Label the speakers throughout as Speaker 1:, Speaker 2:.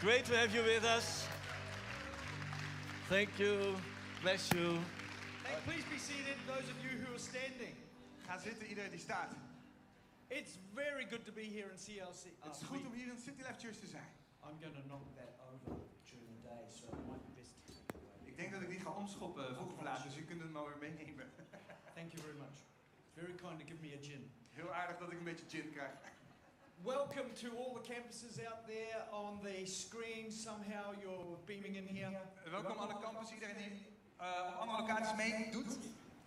Speaker 1: Great to have you with us. Thank you. Bless you.
Speaker 2: Hey, please be seated, those of you who are standing.
Speaker 3: Ga zitten, iedereen die staat.
Speaker 2: It's very good to be here in CLC.
Speaker 3: Het is goed om hier in City Life Church te zijn.
Speaker 2: Uh, I'm going to knock that over during the day, so it might be best to take it away.
Speaker 3: Ik denk dat ik die ga omschoppen vroeg of laat, dus u kunt het maar weer meenemen.
Speaker 2: Thank you very much. Very kind to give me a gin.
Speaker 3: Heel aardig dat ik een beetje gin krijg.
Speaker 2: Welcome to all the campuses out there on the screen. Somehow you're beaming in here.
Speaker 3: Welkom alle campus, iedereen die eh, op andere locaties meedoet.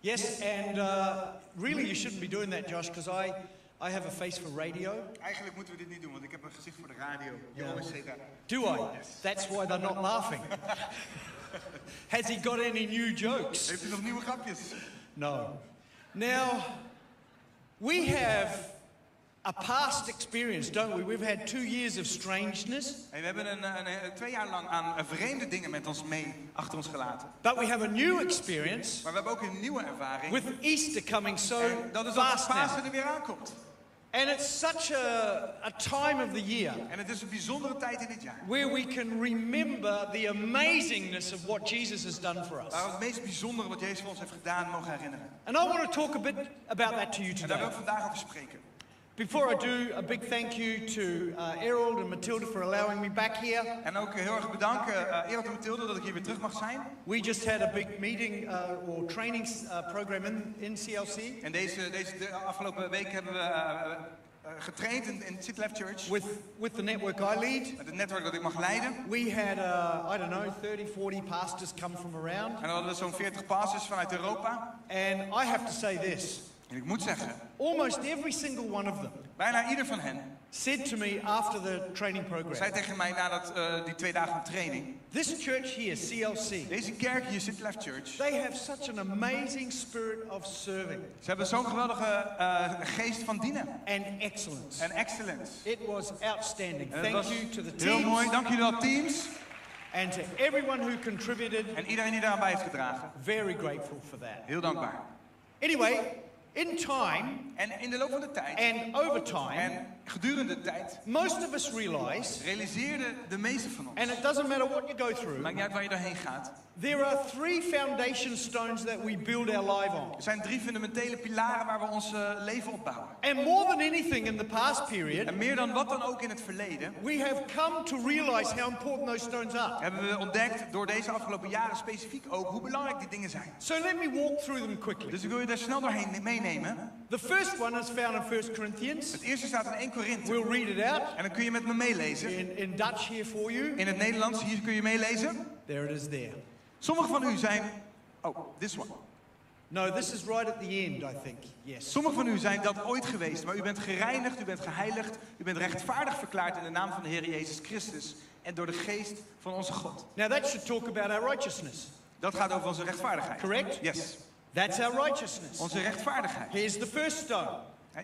Speaker 2: Yes, and uh, really you shouldn't be doing that, Josh, because I, I have a face for radio.
Speaker 3: Eigenlijk moeten we dit niet doen, want ik heb een gezicht voor de radio.
Speaker 2: Ja.
Speaker 3: Jongens, zit daar.
Speaker 2: Do I? That's why they're not laughing. Has he got any new jokes?
Speaker 3: Heeft u nog nieuwe grapjes?
Speaker 2: No. Now, we have a past experience, don't we? We've had two years of strangeness,
Speaker 3: Hey, we hebben een, een, een- twee jaar lang aan eh, vreemde dingen met ons mee achter ons gelaten.
Speaker 2: but we have a new experience
Speaker 3: Maar we hebben ook een nieuwe ervaring.
Speaker 2: with Easter coming so
Speaker 3: en dat is dat
Speaker 2: fast
Speaker 3: de Pasen
Speaker 2: now.
Speaker 3: er weer aankomt.
Speaker 2: And it's such a, a time of the year
Speaker 3: En het is een bijzondere tijd in dit jaar.
Speaker 2: where we can remember the amazingness of what Jesus has done for
Speaker 3: Waar we
Speaker 2: us.
Speaker 3: het meest bijzondere wat Jezus voor ons heeft gedaan mogen herinneren.
Speaker 2: And I want to talk a bit about that to you
Speaker 3: En daar
Speaker 2: today.
Speaker 3: wil ik vandaag over spreken.
Speaker 2: Before I do, a big thank you to uh, Errol and Matilda for allowing me back here.
Speaker 3: En ook heel erg bedanken, eh Erik en Mathilde, dat ik hier weer terug mag zijn.
Speaker 2: We just had a big meeting uh, or training uh, program in, in CLC
Speaker 3: En deze, deze de afgelopen week hebben we eh, eh, getraind in, in City Life Church.
Speaker 2: with, with the network I lead.
Speaker 3: Met het netwerk dat ik mag leiden.
Speaker 2: We had, uh, I don't know, 30, 40 pastors come from
Speaker 3: En
Speaker 2: around.
Speaker 3: dan hadden we zo'n 40 passes vanuit Europa.
Speaker 2: And I have to say this
Speaker 3: En ik moet zeggen,
Speaker 2: almost every single one of them
Speaker 3: bijna ieder van hen
Speaker 2: said to me after the training
Speaker 3: zei
Speaker 2: program,
Speaker 3: tegen mij na dat, eh, die twee dagen van training.
Speaker 2: This church here, CLC,
Speaker 3: Deze kerk hier, City Life Church.
Speaker 2: they have such an amazing spirit of serving
Speaker 3: Ze hebben zo'n geweldige eh, geest van dienen.
Speaker 2: and excellence.
Speaker 3: En excellence.
Speaker 2: It was outstanding.
Speaker 3: En het
Speaker 2: Thank
Speaker 3: was
Speaker 2: you to the
Speaker 3: Heel mooi,
Speaker 2: teams
Speaker 3: dank jullie wel teams.
Speaker 2: and to everyone who contributed.
Speaker 3: En iedereen die daaraan bij heeft gedragen.
Speaker 2: Very grateful for that.
Speaker 3: Heel dankbaar.
Speaker 2: Anyway, in time
Speaker 3: En in de loop van de tijd
Speaker 2: and over time,
Speaker 3: en gedurende de tijd
Speaker 2: most of us realize,
Speaker 3: realiseerden de meeste van ons.
Speaker 2: and it doesn't matter what you go through,
Speaker 3: Maakt niet uit waar je doorheen gaat.
Speaker 2: there are three foundation stones that we build our life on.
Speaker 3: Er zijn drie fundamentele pilaren waar we ons eh, leven op bouwen.
Speaker 2: And more than anything in the past
Speaker 3: En
Speaker 2: period,
Speaker 3: meer dan wat dan ook in het verleden
Speaker 2: we have come to realize how important those stones are.
Speaker 3: hebben we ontdekt door deze afgelopen jaren specifiek ook hoe belangrijk die dingen zijn.
Speaker 2: So let me walk through them quickly.
Speaker 3: Dus ik wil je daar snel doorheen meenemen.
Speaker 2: The first one is found in 1 Corinthians.
Speaker 3: Het eerste staat in 1 Korinthe.
Speaker 2: We'll read it out
Speaker 3: En dan kun je met me meelezen.
Speaker 2: in, in Dutch here for you.
Speaker 3: In het Nederlands, hier kun je meelezen.
Speaker 2: There it is there.
Speaker 3: Sommigen van u zijn... Oh, this one.
Speaker 2: No, this is right at the end, I think. Yes.
Speaker 3: Sommigen van u zijn dat ooit geweest, maar u bent gereinigd, u bent geheiligd, u bent rechtvaardig verklaard in de naam van de Heer Jezus Christus en door de geest van onze God.
Speaker 2: Now that should talk about our righteousness.
Speaker 3: Dat gaat over onze rechtvaardigheid.
Speaker 2: Correct?
Speaker 3: Yes.
Speaker 2: That's our righteousness.
Speaker 3: Onze rechtvaardigheid.
Speaker 2: Here's the first stone.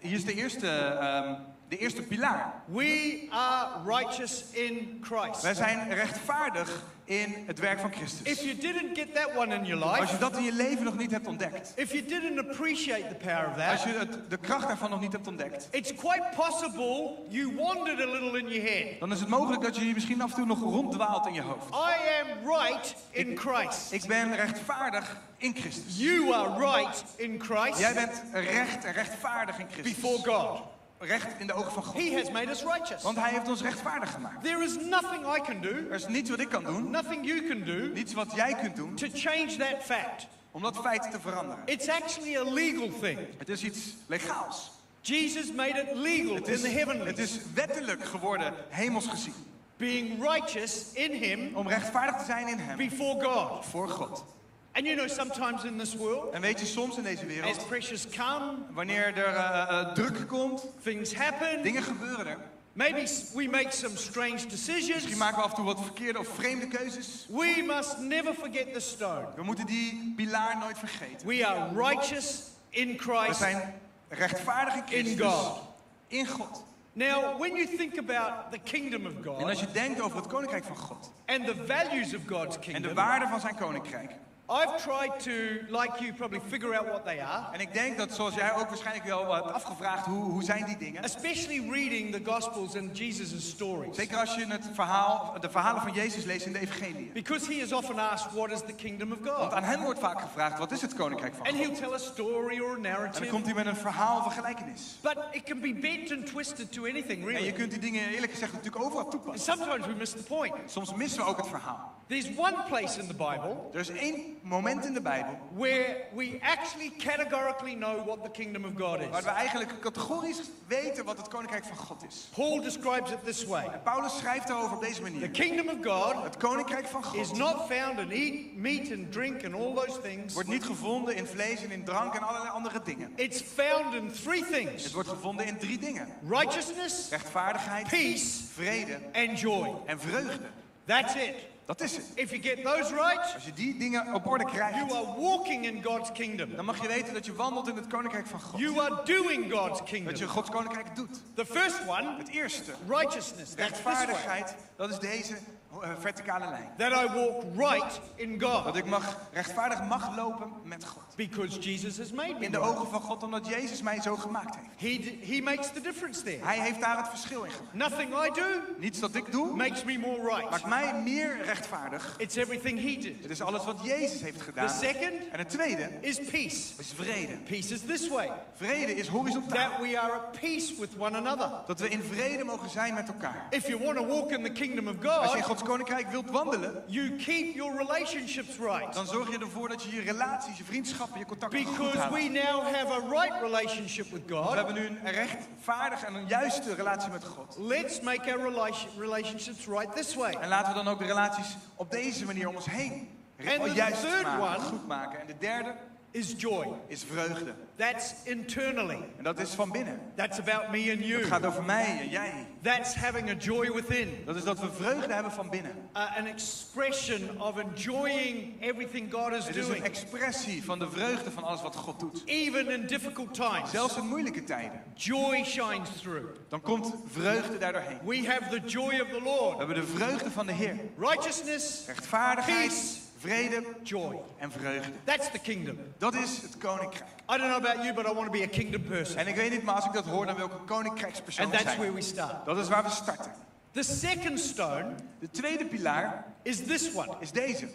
Speaker 3: Hier is de eerste, ehm, de eerste pilaar.
Speaker 2: We are righteous in
Speaker 3: Wij
Speaker 2: Christ.
Speaker 3: zijn rechtvaardig in het werk van
Speaker 2: If
Speaker 3: Christus.
Speaker 2: you didn't get that one in your
Speaker 3: Als je
Speaker 2: life,
Speaker 3: dat in je leven nog niet hebt ontdekt,
Speaker 2: if you didn't appreciate the power of that,
Speaker 3: als je het, de kracht daarvan nog niet hebt ontdekt,
Speaker 2: it's quite possible you wandered a little in your head.
Speaker 3: dan is het mogelijk dat je je misschien af en toe nog ronddwaalt in je hoofd.
Speaker 2: I am right in Christ.
Speaker 3: Ik ben rechtvaardig in Christus.
Speaker 2: You are right in
Speaker 3: Jij
Speaker 2: Christ
Speaker 3: bent recht en rechtvaardig in Christus.
Speaker 2: before God.
Speaker 3: recht in de ogen van God.
Speaker 2: He has made us righteous.
Speaker 3: Want hij heeft ons rechtvaardig gemaakt.
Speaker 2: There is nothing I can
Speaker 3: Er
Speaker 2: do,
Speaker 3: is niets wat ik kan doen,
Speaker 2: nothing you can do
Speaker 3: niets wat jij kunt doen,
Speaker 2: to change that fact.
Speaker 3: om dat feit te veranderen.
Speaker 2: It's actually a legal thing.
Speaker 3: Het is iets legaals.
Speaker 2: Jesus made it legal
Speaker 3: Het
Speaker 2: in
Speaker 3: is,
Speaker 2: the
Speaker 3: het
Speaker 2: heavenlies.
Speaker 3: is wettelijk geworden, hemels gezien.
Speaker 2: Being righteous in Him
Speaker 3: Om rechtvaardig te zijn in hem,
Speaker 2: before God.
Speaker 3: voor God.
Speaker 2: And you know, sometimes in this world,
Speaker 3: En weet je, soms in deze
Speaker 2: as
Speaker 3: wereld,
Speaker 2: pressures come,
Speaker 3: wanneer er eh, eh, druk komt,
Speaker 2: things happen.
Speaker 3: dingen gebeuren er.
Speaker 2: Maybe s- we make some strange
Speaker 3: Misschien
Speaker 2: decisions.
Speaker 3: maken we af en toe wat verkeerde of vreemde keuzes.
Speaker 2: We must never forget the stone.
Speaker 3: We moeten die pilaar nooit vergeten.
Speaker 2: We are righteous in
Speaker 3: We
Speaker 2: Christ.
Speaker 3: zijn rechtvaardig in Christus.
Speaker 2: God.
Speaker 3: In God.
Speaker 2: Now, when you think about the kingdom of
Speaker 3: En als
Speaker 2: God
Speaker 3: je denkt over het koninkrijk van God
Speaker 2: and the values of God's
Speaker 3: en de
Speaker 2: kingdom,
Speaker 3: waarde van zijn koninkrijk,
Speaker 2: I've tried to, like you, probably figure out what they are,
Speaker 3: En ik denk dat, zoals jij ook waarschijnlijk wel hebt afgevraagd, hoe, hoe zijn die dingen?
Speaker 2: especially reading the Gospels and Jesus' stories.
Speaker 3: Zeker als je het verhaal, de verhalen van Jezus leest in de evangelie.
Speaker 2: Because he is often asked, What is the kingdom of
Speaker 3: Want
Speaker 2: God?
Speaker 3: aan hem wordt vaak gevraagd, wat is het koninkrijk van
Speaker 2: And
Speaker 3: God?
Speaker 2: he'll tell a story or a
Speaker 3: En dan
Speaker 2: narrative.
Speaker 3: komt hij met een verhaal of een gelijkenis.
Speaker 2: But it can be bent and twisted to anything,
Speaker 3: En je
Speaker 2: really.
Speaker 3: kunt die dingen eerlijk gezegd natuurlijk overal
Speaker 2: And
Speaker 3: toepassen.
Speaker 2: sometimes we miss the point.
Speaker 3: Soms missen we ook het verhaal.
Speaker 2: There's one place in the Bible
Speaker 3: Er is één moment in de Bijbel
Speaker 2: where we actually categorically know what the kingdom of God
Speaker 3: waar
Speaker 2: is.
Speaker 3: we eigenlijk categorisch weten wat het koninkrijk van God is.
Speaker 2: Paul describes it this way
Speaker 3: Paulus schrijft daarover op deze
Speaker 2: The
Speaker 3: manier.
Speaker 2: kingdom of God
Speaker 3: Het koninkrijk van
Speaker 2: is
Speaker 3: God
Speaker 2: not found in eat, meat, and drink and all those things.
Speaker 3: wordt niet gevonden in vlees en in drank en allerlei andere dingen.
Speaker 2: It's found in three
Speaker 3: Het
Speaker 2: things
Speaker 3: wordt gevonden in drie dingen.
Speaker 2: righteousness,
Speaker 3: Rechtvaardigheid,
Speaker 2: peace,
Speaker 3: vrede
Speaker 2: and joy.
Speaker 3: en vreugde.
Speaker 2: That's it.
Speaker 3: Dat is het.
Speaker 2: If you get those right,
Speaker 3: Als je die dingen op orde
Speaker 2: you
Speaker 3: krijgt,
Speaker 2: are walking in God's kingdom.
Speaker 3: dan mag je weten dat je wandelt in het koninkrijk van God.
Speaker 2: You are doing God's kingdom.
Speaker 3: Dat je Gods koninkrijk doet.
Speaker 2: The first one,
Speaker 3: Het eerste,
Speaker 2: righteousness. That's this way.
Speaker 3: rechtvaardigheid, dat is deze eh, verticale lijn.
Speaker 2: That I walk right in
Speaker 3: Dat
Speaker 2: God
Speaker 3: ik mag, rechtvaardig mag lopen met God.
Speaker 2: because Jesus has made me.
Speaker 3: In de
Speaker 2: right.
Speaker 3: ogen van God, omdat Jezus mij zo gemaakt heeft.
Speaker 2: He, d- he makes the difference there.
Speaker 3: Hij heeft daar het verschil in gemaakt.
Speaker 2: Nothing I do
Speaker 3: Niets dat ik doe,
Speaker 2: makes me more right.
Speaker 3: maakt mij meer rechtvaardig.
Speaker 2: It's everything He did.
Speaker 3: Het is alles wat Jezus heeft
Speaker 2: The
Speaker 3: gedaan.
Speaker 2: second
Speaker 3: En het tweede
Speaker 2: is peace.
Speaker 3: is vrede.
Speaker 2: Peace is this way
Speaker 3: Vrede is horizontaal.
Speaker 2: that we are at peace with one another.
Speaker 3: Dat we in vrede mogen zijn met elkaar.
Speaker 2: If you want to walk in the kingdom of
Speaker 3: Als je in
Speaker 2: God,
Speaker 3: Gods koninkrijk wilt wandelen,
Speaker 2: you keep your relationships right
Speaker 3: dan zorg je ervoor dat je je relaties, je vriendschappen, je contacten goed
Speaker 2: because
Speaker 3: houdt.
Speaker 2: we now have a right relationship with
Speaker 3: We
Speaker 2: God.
Speaker 3: hebben nu een rechtvaardige en een juiste relatie met God.
Speaker 2: Let's make our relation- relationships right this way.
Speaker 3: En laten we dan ook de relaties op deze manier om ons heen
Speaker 2: En de
Speaker 3: juist
Speaker 2: third
Speaker 3: maken,
Speaker 2: one-
Speaker 3: goed maken. En de derde
Speaker 2: Is joy.
Speaker 3: is vreugde.
Speaker 2: That's internally.
Speaker 3: En dat is van binnen.
Speaker 2: That's about me and you.
Speaker 3: Het gaat over mij en jij.
Speaker 2: That's having a joy within.
Speaker 3: Dat is dat we vreugde hebben van binnen.
Speaker 2: uh, an expression of enjoying everything God is
Speaker 3: Het is een
Speaker 2: doing,
Speaker 3: expressie van de vreugde van alles wat God doet.
Speaker 2: even in difficult times.
Speaker 3: Zelfs in moeilijke tijden.
Speaker 2: Joy shines through.
Speaker 3: Dan komt vreugde daardoorheen.
Speaker 2: We have the joy of the
Speaker 3: We
Speaker 2: Lord,
Speaker 3: hebben de vreugde van de Heer.
Speaker 2: righteousness,
Speaker 3: Rechtvaardigheid,
Speaker 2: Peace.
Speaker 3: vrede
Speaker 2: joy.
Speaker 3: en vreugde.
Speaker 2: That's the kingdom.
Speaker 3: Dat is het koninkrijk.
Speaker 2: I don't know about you, but I want to be a kingdom person,
Speaker 3: En ik weet niet, maar als ik dat hoor, dan wil ik een koninkrijkspersoon
Speaker 2: and that's
Speaker 3: zijn.
Speaker 2: where we start.
Speaker 3: Dat is waar we starten.
Speaker 2: The second stone
Speaker 3: De tweede pilaar
Speaker 2: is this one,
Speaker 3: is deze.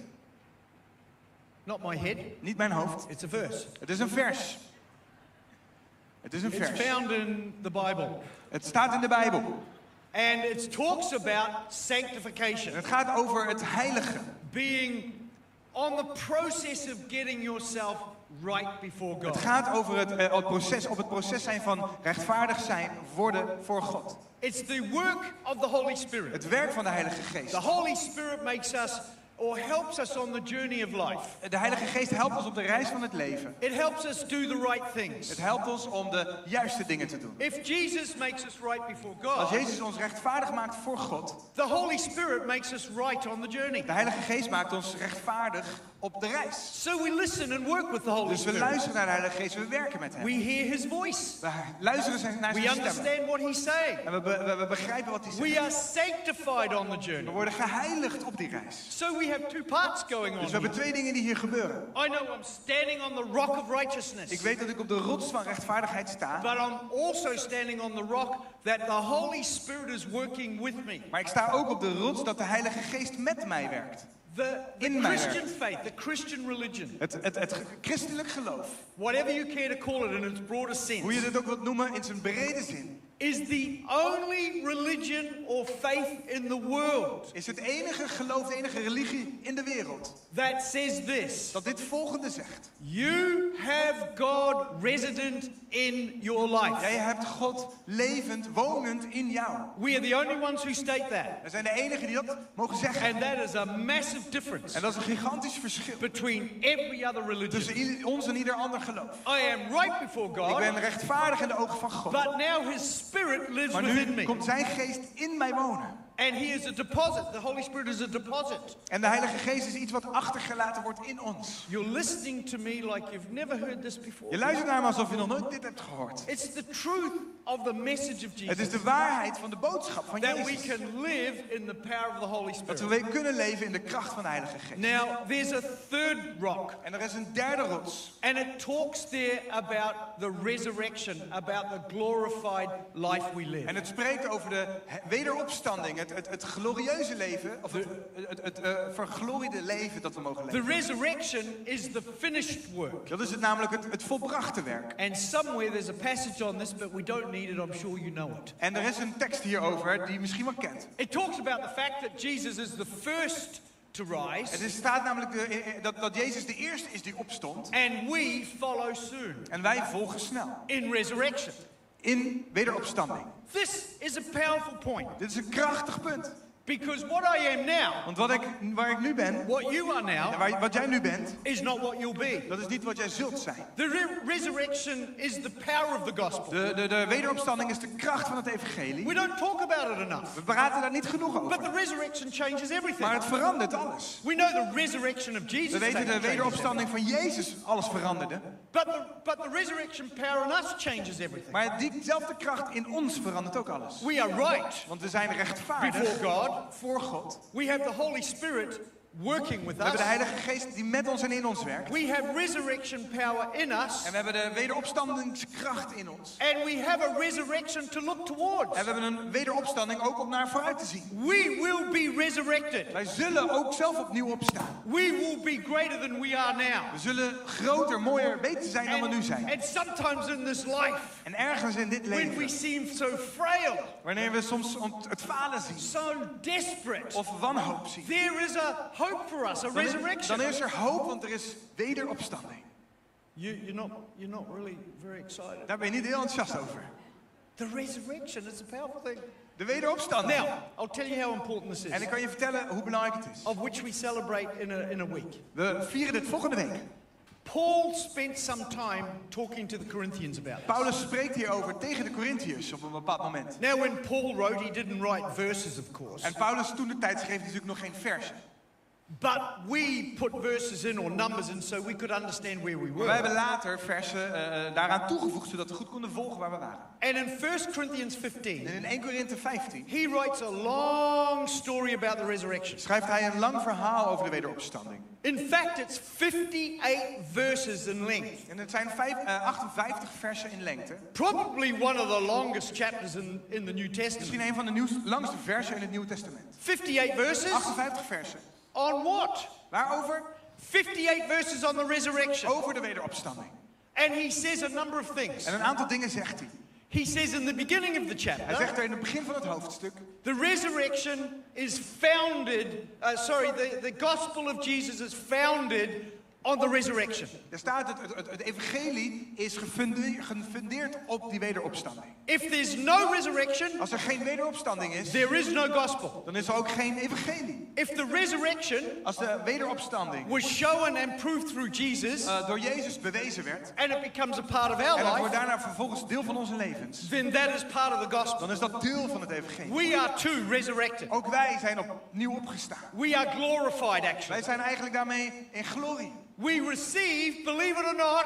Speaker 2: not my head.
Speaker 3: Niet mijn hoofd.
Speaker 2: It's a verse.
Speaker 3: Het is een vers. Het is een
Speaker 2: It's
Speaker 3: vers.
Speaker 2: found in the Bible,
Speaker 3: Het staat in de Bijbel.
Speaker 2: and it talks about
Speaker 3: En
Speaker 2: sanctification,
Speaker 3: het gaat over het heilige.
Speaker 2: being on the process of getting yourself right before
Speaker 3: Het
Speaker 2: God.
Speaker 3: gaat over het, eh, het proces, op het proces zijn van rechtvaardig zijn worden voor God.
Speaker 2: It's the work of the Holy Spirit.
Speaker 3: Het werk van de Heilige Geest.
Speaker 2: The Holy Spirit makes us or helps us on the journey of life.
Speaker 3: De Heilige Geest helpt ons op de reis van het leven.
Speaker 2: It helps us do the right
Speaker 3: Het
Speaker 2: things.
Speaker 3: helpt ons om de juiste dingen te doen.
Speaker 2: If Jesus makes us right before
Speaker 3: Als
Speaker 2: God,
Speaker 3: Jezus ons rechtvaardig maakt voor God,
Speaker 2: the Holy Spirit makes us right on the journey.
Speaker 3: de Heilige Geest maakt ons rechtvaardig op de reis.
Speaker 2: So we listen and work with the Holy
Speaker 3: Dus we
Speaker 2: Spirit.
Speaker 3: luisteren naar de Heilige Geest, we werken met Hem.
Speaker 2: We hear His voice.
Speaker 3: We luisteren zijn- naar
Speaker 2: We
Speaker 3: Zijn stem.
Speaker 2: understand what He's saying.
Speaker 3: En we, be- we- we begrijpen wat Hij zegt.
Speaker 2: We are sanctified on the
Speaker 3: We
Speaker 2: journey.
Speaker 3: worden geheiligd op die reis.
Speaker 2: So we have two parts going on.
Speaker 3: Dus we hebben
Speaker 2: here.
Speaker 3: twee dingen die hier gebeuren.
Speaker 2: I know I'm standing on the rock of
Speaker 3: Ik
Speaker 2: righteousness.
Speaker 3: weet dat ik op de rots van rechtvaardigheid sta.
Speaker 2: But I'm also standing on the rock that the Holy Spirit is working with me.
Speaker 3: Maar ik sta ook op de rots dat de Heilige Geest met mij werkt.
Speaker 2: The, the
Speaker 3: In my
Speaker 2: Christian faith, the Christian religion,
Speaker 3: Het, het, het christelijk geloof,
Speaker 2: whatever you care to call it in its broader
Speaker 3: hoe je
Speaker 2: sense,
Speaker 3: dit ook wilt noemen in zijn brede zin,
Speaker 2: is the only religion or faith in the world
Speaker 3: is het enige geloof, de enige religie in de wereld
Speaker 2: that says this
Speaker 3: dat dit volgende zegt.
Speaker 2: You have God resident in your life.
Speaker 3: Jij hebt God levend, wonend in jou.
Speaker 2: We are the only ones who state that.
Speaker 3: We zijn de enigen die dat mogen zeggen.
Speaker 2: And that is a massive difference
Speaker 3: En dat is een gigantisch verschil
Speaker 2: between every other religion.
Speaker 3: tussen ieder- ons en ieder ander geloof.
Speaker 2: I am right before
Speaker 3: Ik
Speaker 2: God.
Speaker 3: ben rechtvaardig in de ogen van God.
Speaker 2: But now his spirit lives
Speaker 3: Maar
Speaker 2: within me.
Speaker 3: nu komt zijn geest in mij wonen.
Speaker 2: And He is a deposit. The Holy Spirit is a deposit.
Speaker 3: En de Heilige Geest is iets wat achtergelaten wordt in ons.
Speaker 2: You're listening to me like you've never heard this before.
Speaker 3: Je luistert naar hem alsof je nog nooit dit hebt gehoord.
Speaker 2: It's the truth of the message of
Speaker 3: Het is
Speaker 2: Jesus
Speaker 3: de waarheid van de boodschap van
Speaker 2: that we
Speaker 3: Jezus.
Speaker 2: can live in the power of the Holy
Speaker 3: Dat we
Speaker 2: Spirit.
Speaker 3: we kunnen leven in de kracht van de Heilige Geest.
Speaker 2: Now, there's a third rock,
Speaker 3: En er is een derde rots.
Speaker 2: and it talks there about the resurrection, about the glorified life we live.
Speaker 3: En het spreekt over de he- wederopstanding, het, het, het glorieuze leven, of het, het, het eh, vergloriede leven dat we mogen
Speaker 2: The
Speaker 3: leven.
Speaker 2: resurrection is the finished work.
Speaker 3: Dat is het namelijk het, het volbrachte werk.
Speaker 2: And somewhere there's a passage on this, but we don't need it. I'm sure you know it.
Speaker 3: En er is een tekst hierover die je misschien wel kent.
Speaker 2: It talks about the fact that Jesus is the first to
Speaker 3: Het
Speaker 2: rise,
Speaker 3: is, staat namelijk de- eh, eh, dat, dat Jezus de eerste is die opstond.
Speaker 2: and we follow soon
Speaker 3: En wij volgen snel.
Speaker 2: in resurrection.
Speaker 3: In wederopstanding.
Speaker 2: This is a powerful point
Speaker 3: Dit is een krachtig punt.
Speaker 2: because what I am now,
Speaker 3: Want wat ik, waar ik nu ben,
Speaker 2: what you are
Speaker 3: en
Speaker 2: now,
Speaker 3: waar, wat jij nu bent,
Speaker 2: is not what you'll be.
Speaker 3: dat is niet wat jij zult zijn.
Speaker 2: The re- resurrection is the power of the gospel.
Speaker 3: De, de, de wederopstanding is de kracht van het evangelie.
Speaker 2: We don't talk about it enough,
Speaker 3: We praten daar niet genoeg
Speaker 2: but
Speaker 3: over.
Speaker 2: the resurrection changes everything.
Speaker 3: Maar het verandert alles.
Speaker 2: We know the resurrection of
Speaker 3: We
Speaker 2: Jesus.
Speaker 3: weten de
Speaker 2: changes everything.
Speaker 3: wederopstanding van Jezus alles veranderde.
Speaker 2: But the, but the resurrection power in us changes everything.
Speaker 3: Maar diezelfde kracht in ons verandert ook alles.
Speaker 2: We are right.
Speaker 3: Want we zijn rechtvaardig
Speaker 2: Before God.
Speaker 3: voor God.
Speaker 2: We have the Holy Spirit working with
Speaker 3: We hebben de
Speaker 2: us.
Speaker 3: Heilige Geest die met ons en in ons werkt.
Speaker 2: We have resurrection power in us.
Speaker 3: En we hebben de wederopstandingskracht in ons.
Speaker 2: And we have a resurrection to look towards.
Speaker 3: En we hebben een wederopstanding ook om naar vooruit te zien.
Speaker 2: We will be resurrected.
Speaker 3: Wij zullen ook zelf opnieuw opstaan.
Speaker 2: We will be greater than we are now.
Speaker 3: We zullen groter, mooier, beter zijn dan we nu
Speaker 2: And,
Speaker 3: zijn.
Speaker 2: and sometimes in this life,
Speaker 3: En ergens in dit
Speaker 2: when we
Speaker 3: leven,
Speaker 2: seem so frail,
Speaker 3: wanneer we soms ont- het falen zien
Speaker 2: so desperate,
Speaker 3: of wanhoop zien,
Speaker 2: there is a hope for us, a
Speaker 3: dan is,
Speaker 2: resurrection.
Speaker 3: dan is er hoop, want er is wederopstanding.
Speaker 2: You, you're, not, you're not really very excited.
Speaker 3: Daar ben je niet heel enthousiast over.
Speaker 2: The resurrection is a powerful thing.
Speaker 3: De wederopstanding.
Speaker 2: Now, I'll tell you how important this
Speaker 3: En
Speaker 2: is,
Speaker 3: ik kan je vertellen hoe belangrijk het is.
Speaker 2: of which we celebrate in a, in a week.
Speaker 3: We vieren dit volgende week.
Speaker 2: Paul spent some time talking to the Corinthians about it.
Speaker 3: Paulus spreekt hierover tegen de Corinthiërs op een bepaald moment.
Speaker 2: Now, when Paul wrote, he didn't write verses, of course,
Speaker 3: En Paulus toen de tijd schreef natuurlijk nog geen versen.
Speaker 2: but we put verses in or numbers in so we could understand where we
Speaker 3: Wij
Speaker 2: were.
Speaker 3: hebben later versen eh, daaraan toegevoegd, zodat we goed konden volgen waar we waren.
Speaker 2: And in 1 Corinthians
Speaker 3: En
Speaker 2: 15,
Speaker 3: in 1 Korinthe 15
Speaker 2: he writes a long story about the resurrection.
Speaker 3: schrijft hij een lang verhaal over de wederopstanding.
Speaker 2: In fact, it's 58 verses in length,
Speaker 3: En het zijn vijf- eh, 58 versen in lengte.
Speaker 2: probably one of the longest chapters in, in the New
Speaker 3: Misschien
Speaker 2: Testament.
Speaker 3: een van de nieuws, langste versen in het Nieuwe Testament.
Speaker 2: 58 verses
Speaker 3: 58 versen.
Speaker 2: on what?
Speaker 3: Waarover?
Speaker 2: 58 verses on the resurrection.
Speaker 3: Over de wederopstanding.
Speaker 2: And he says a number of things.
Speaker 3: En een aantal dingen zegt hij.
Speaker 2: He says in the beginning of the
Speaker 3: Hij zegt
Speaker 2: chapter,
Speaker 3: er in het begin van het hoofdstuk.
Speaker 2: the resurrection is founded, uh, sorry, the, the gospel of Jesus is founded on the resurrection.
Speaker 3: Daar staat het, het, het, het evangelie is gefunde- gefundeerd op die wederopstanding.
Speaker 2: If there's no resurrection,
Speaker 3: Als er geen wederopstanding is,
Speaker 2: there is no gospel.
Speaker 3: dan is er ook geen evangelie.
Speaker 2: If the resurrection
Speaker 3: Als de wederopstanding
Speaker 2: was shown and proved through Jesus uh,
Speaker 3: eh, door Jezus bewezen werd,
Speaker 2: and it becomes a part of our
Speaker 3: en dat wordt
Speaker 2: life,
Speaker 3: daarna vervolgens deel van onze levens,
Speaker 2: then that is part of the gospel.
Speaker 3: dan is dat deel van het evangelie.
Speaker 2: We are too resurrected.
Speaker 3: Ook wij zijn opnieuw opgestaan.
Speaker 2: We are glorified, actually.
Speaker 3: Wij zijn eigenlijk daarmee in glorie.
Speaker 2: We receive, believe it or not,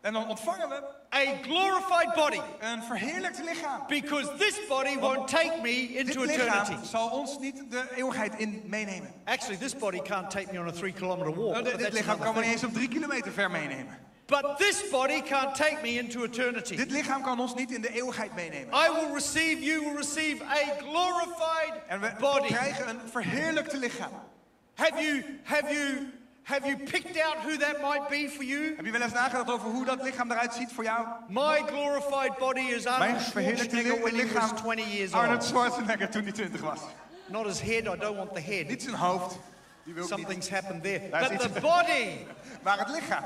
Speaker 3: En dan ontvangen we
Speaker 2: a glorified body.
Speaker 3: een verheerlijkt lichaam.
Speaker 2: Because this body won't take me
Speaker 3: Dit
Speaker 2: into eternity. Oh,
Speaker 3: lichaam zal ons niet de eeuwigheid in meenemen.
Speaker 2: Actually, this body can't take me on a three kilometer walk.
Speaker 3: Nou,
Speaker 2: but
Speaker 3: dit- dit
Speaker 2: that's
Speaker 3: lichaam
Speaker 2: another
Speaker 3: kan me niet
Speaker 2: thing.
Speaker 3: eens op drie kilometer ver meenemen.
Speaker 2: But this body can't take me into eternity.
Speaker 3: Dit lichaam kan ons niet in de eeuwigheid meenemen.
Speaker 2: I will receive, you will receive a glorified
Speaker 3: En we
Speaker 2: body.
Speaker 3: krijgen een verheerlijkte lichaam.
Speaker 2: Have you, have you, have you picked out who that might be for you?
Speaker 3: Heb je wel eens nagedacht over hoe dat lichaam eruit ziet voor jou?
Speaker 2: My glorified body is Arnold
Speaker 3: Mijn verheerlijkte
Speaker 2: Schwarzenegger
Speaker 3: li-
Speaker 2: when he was
Speaker 3: lichaam.
Speaker 2: 20 years
Speaker 3: Arnold
Speaker 2: old.
Speaker 3: Schwarzenegger toen hij 20 was.
Speaker 2: Not his head, I don't want the head.
Speaker 3: Niet zijn hoofd. Die wil ik niet.
Speaker 2: Something's happened there.
Speaker 3: That's
Speaker 2: But
Speaker 3: it.
Speaker 2: the body,
Speaker 3: Maar het lichaam.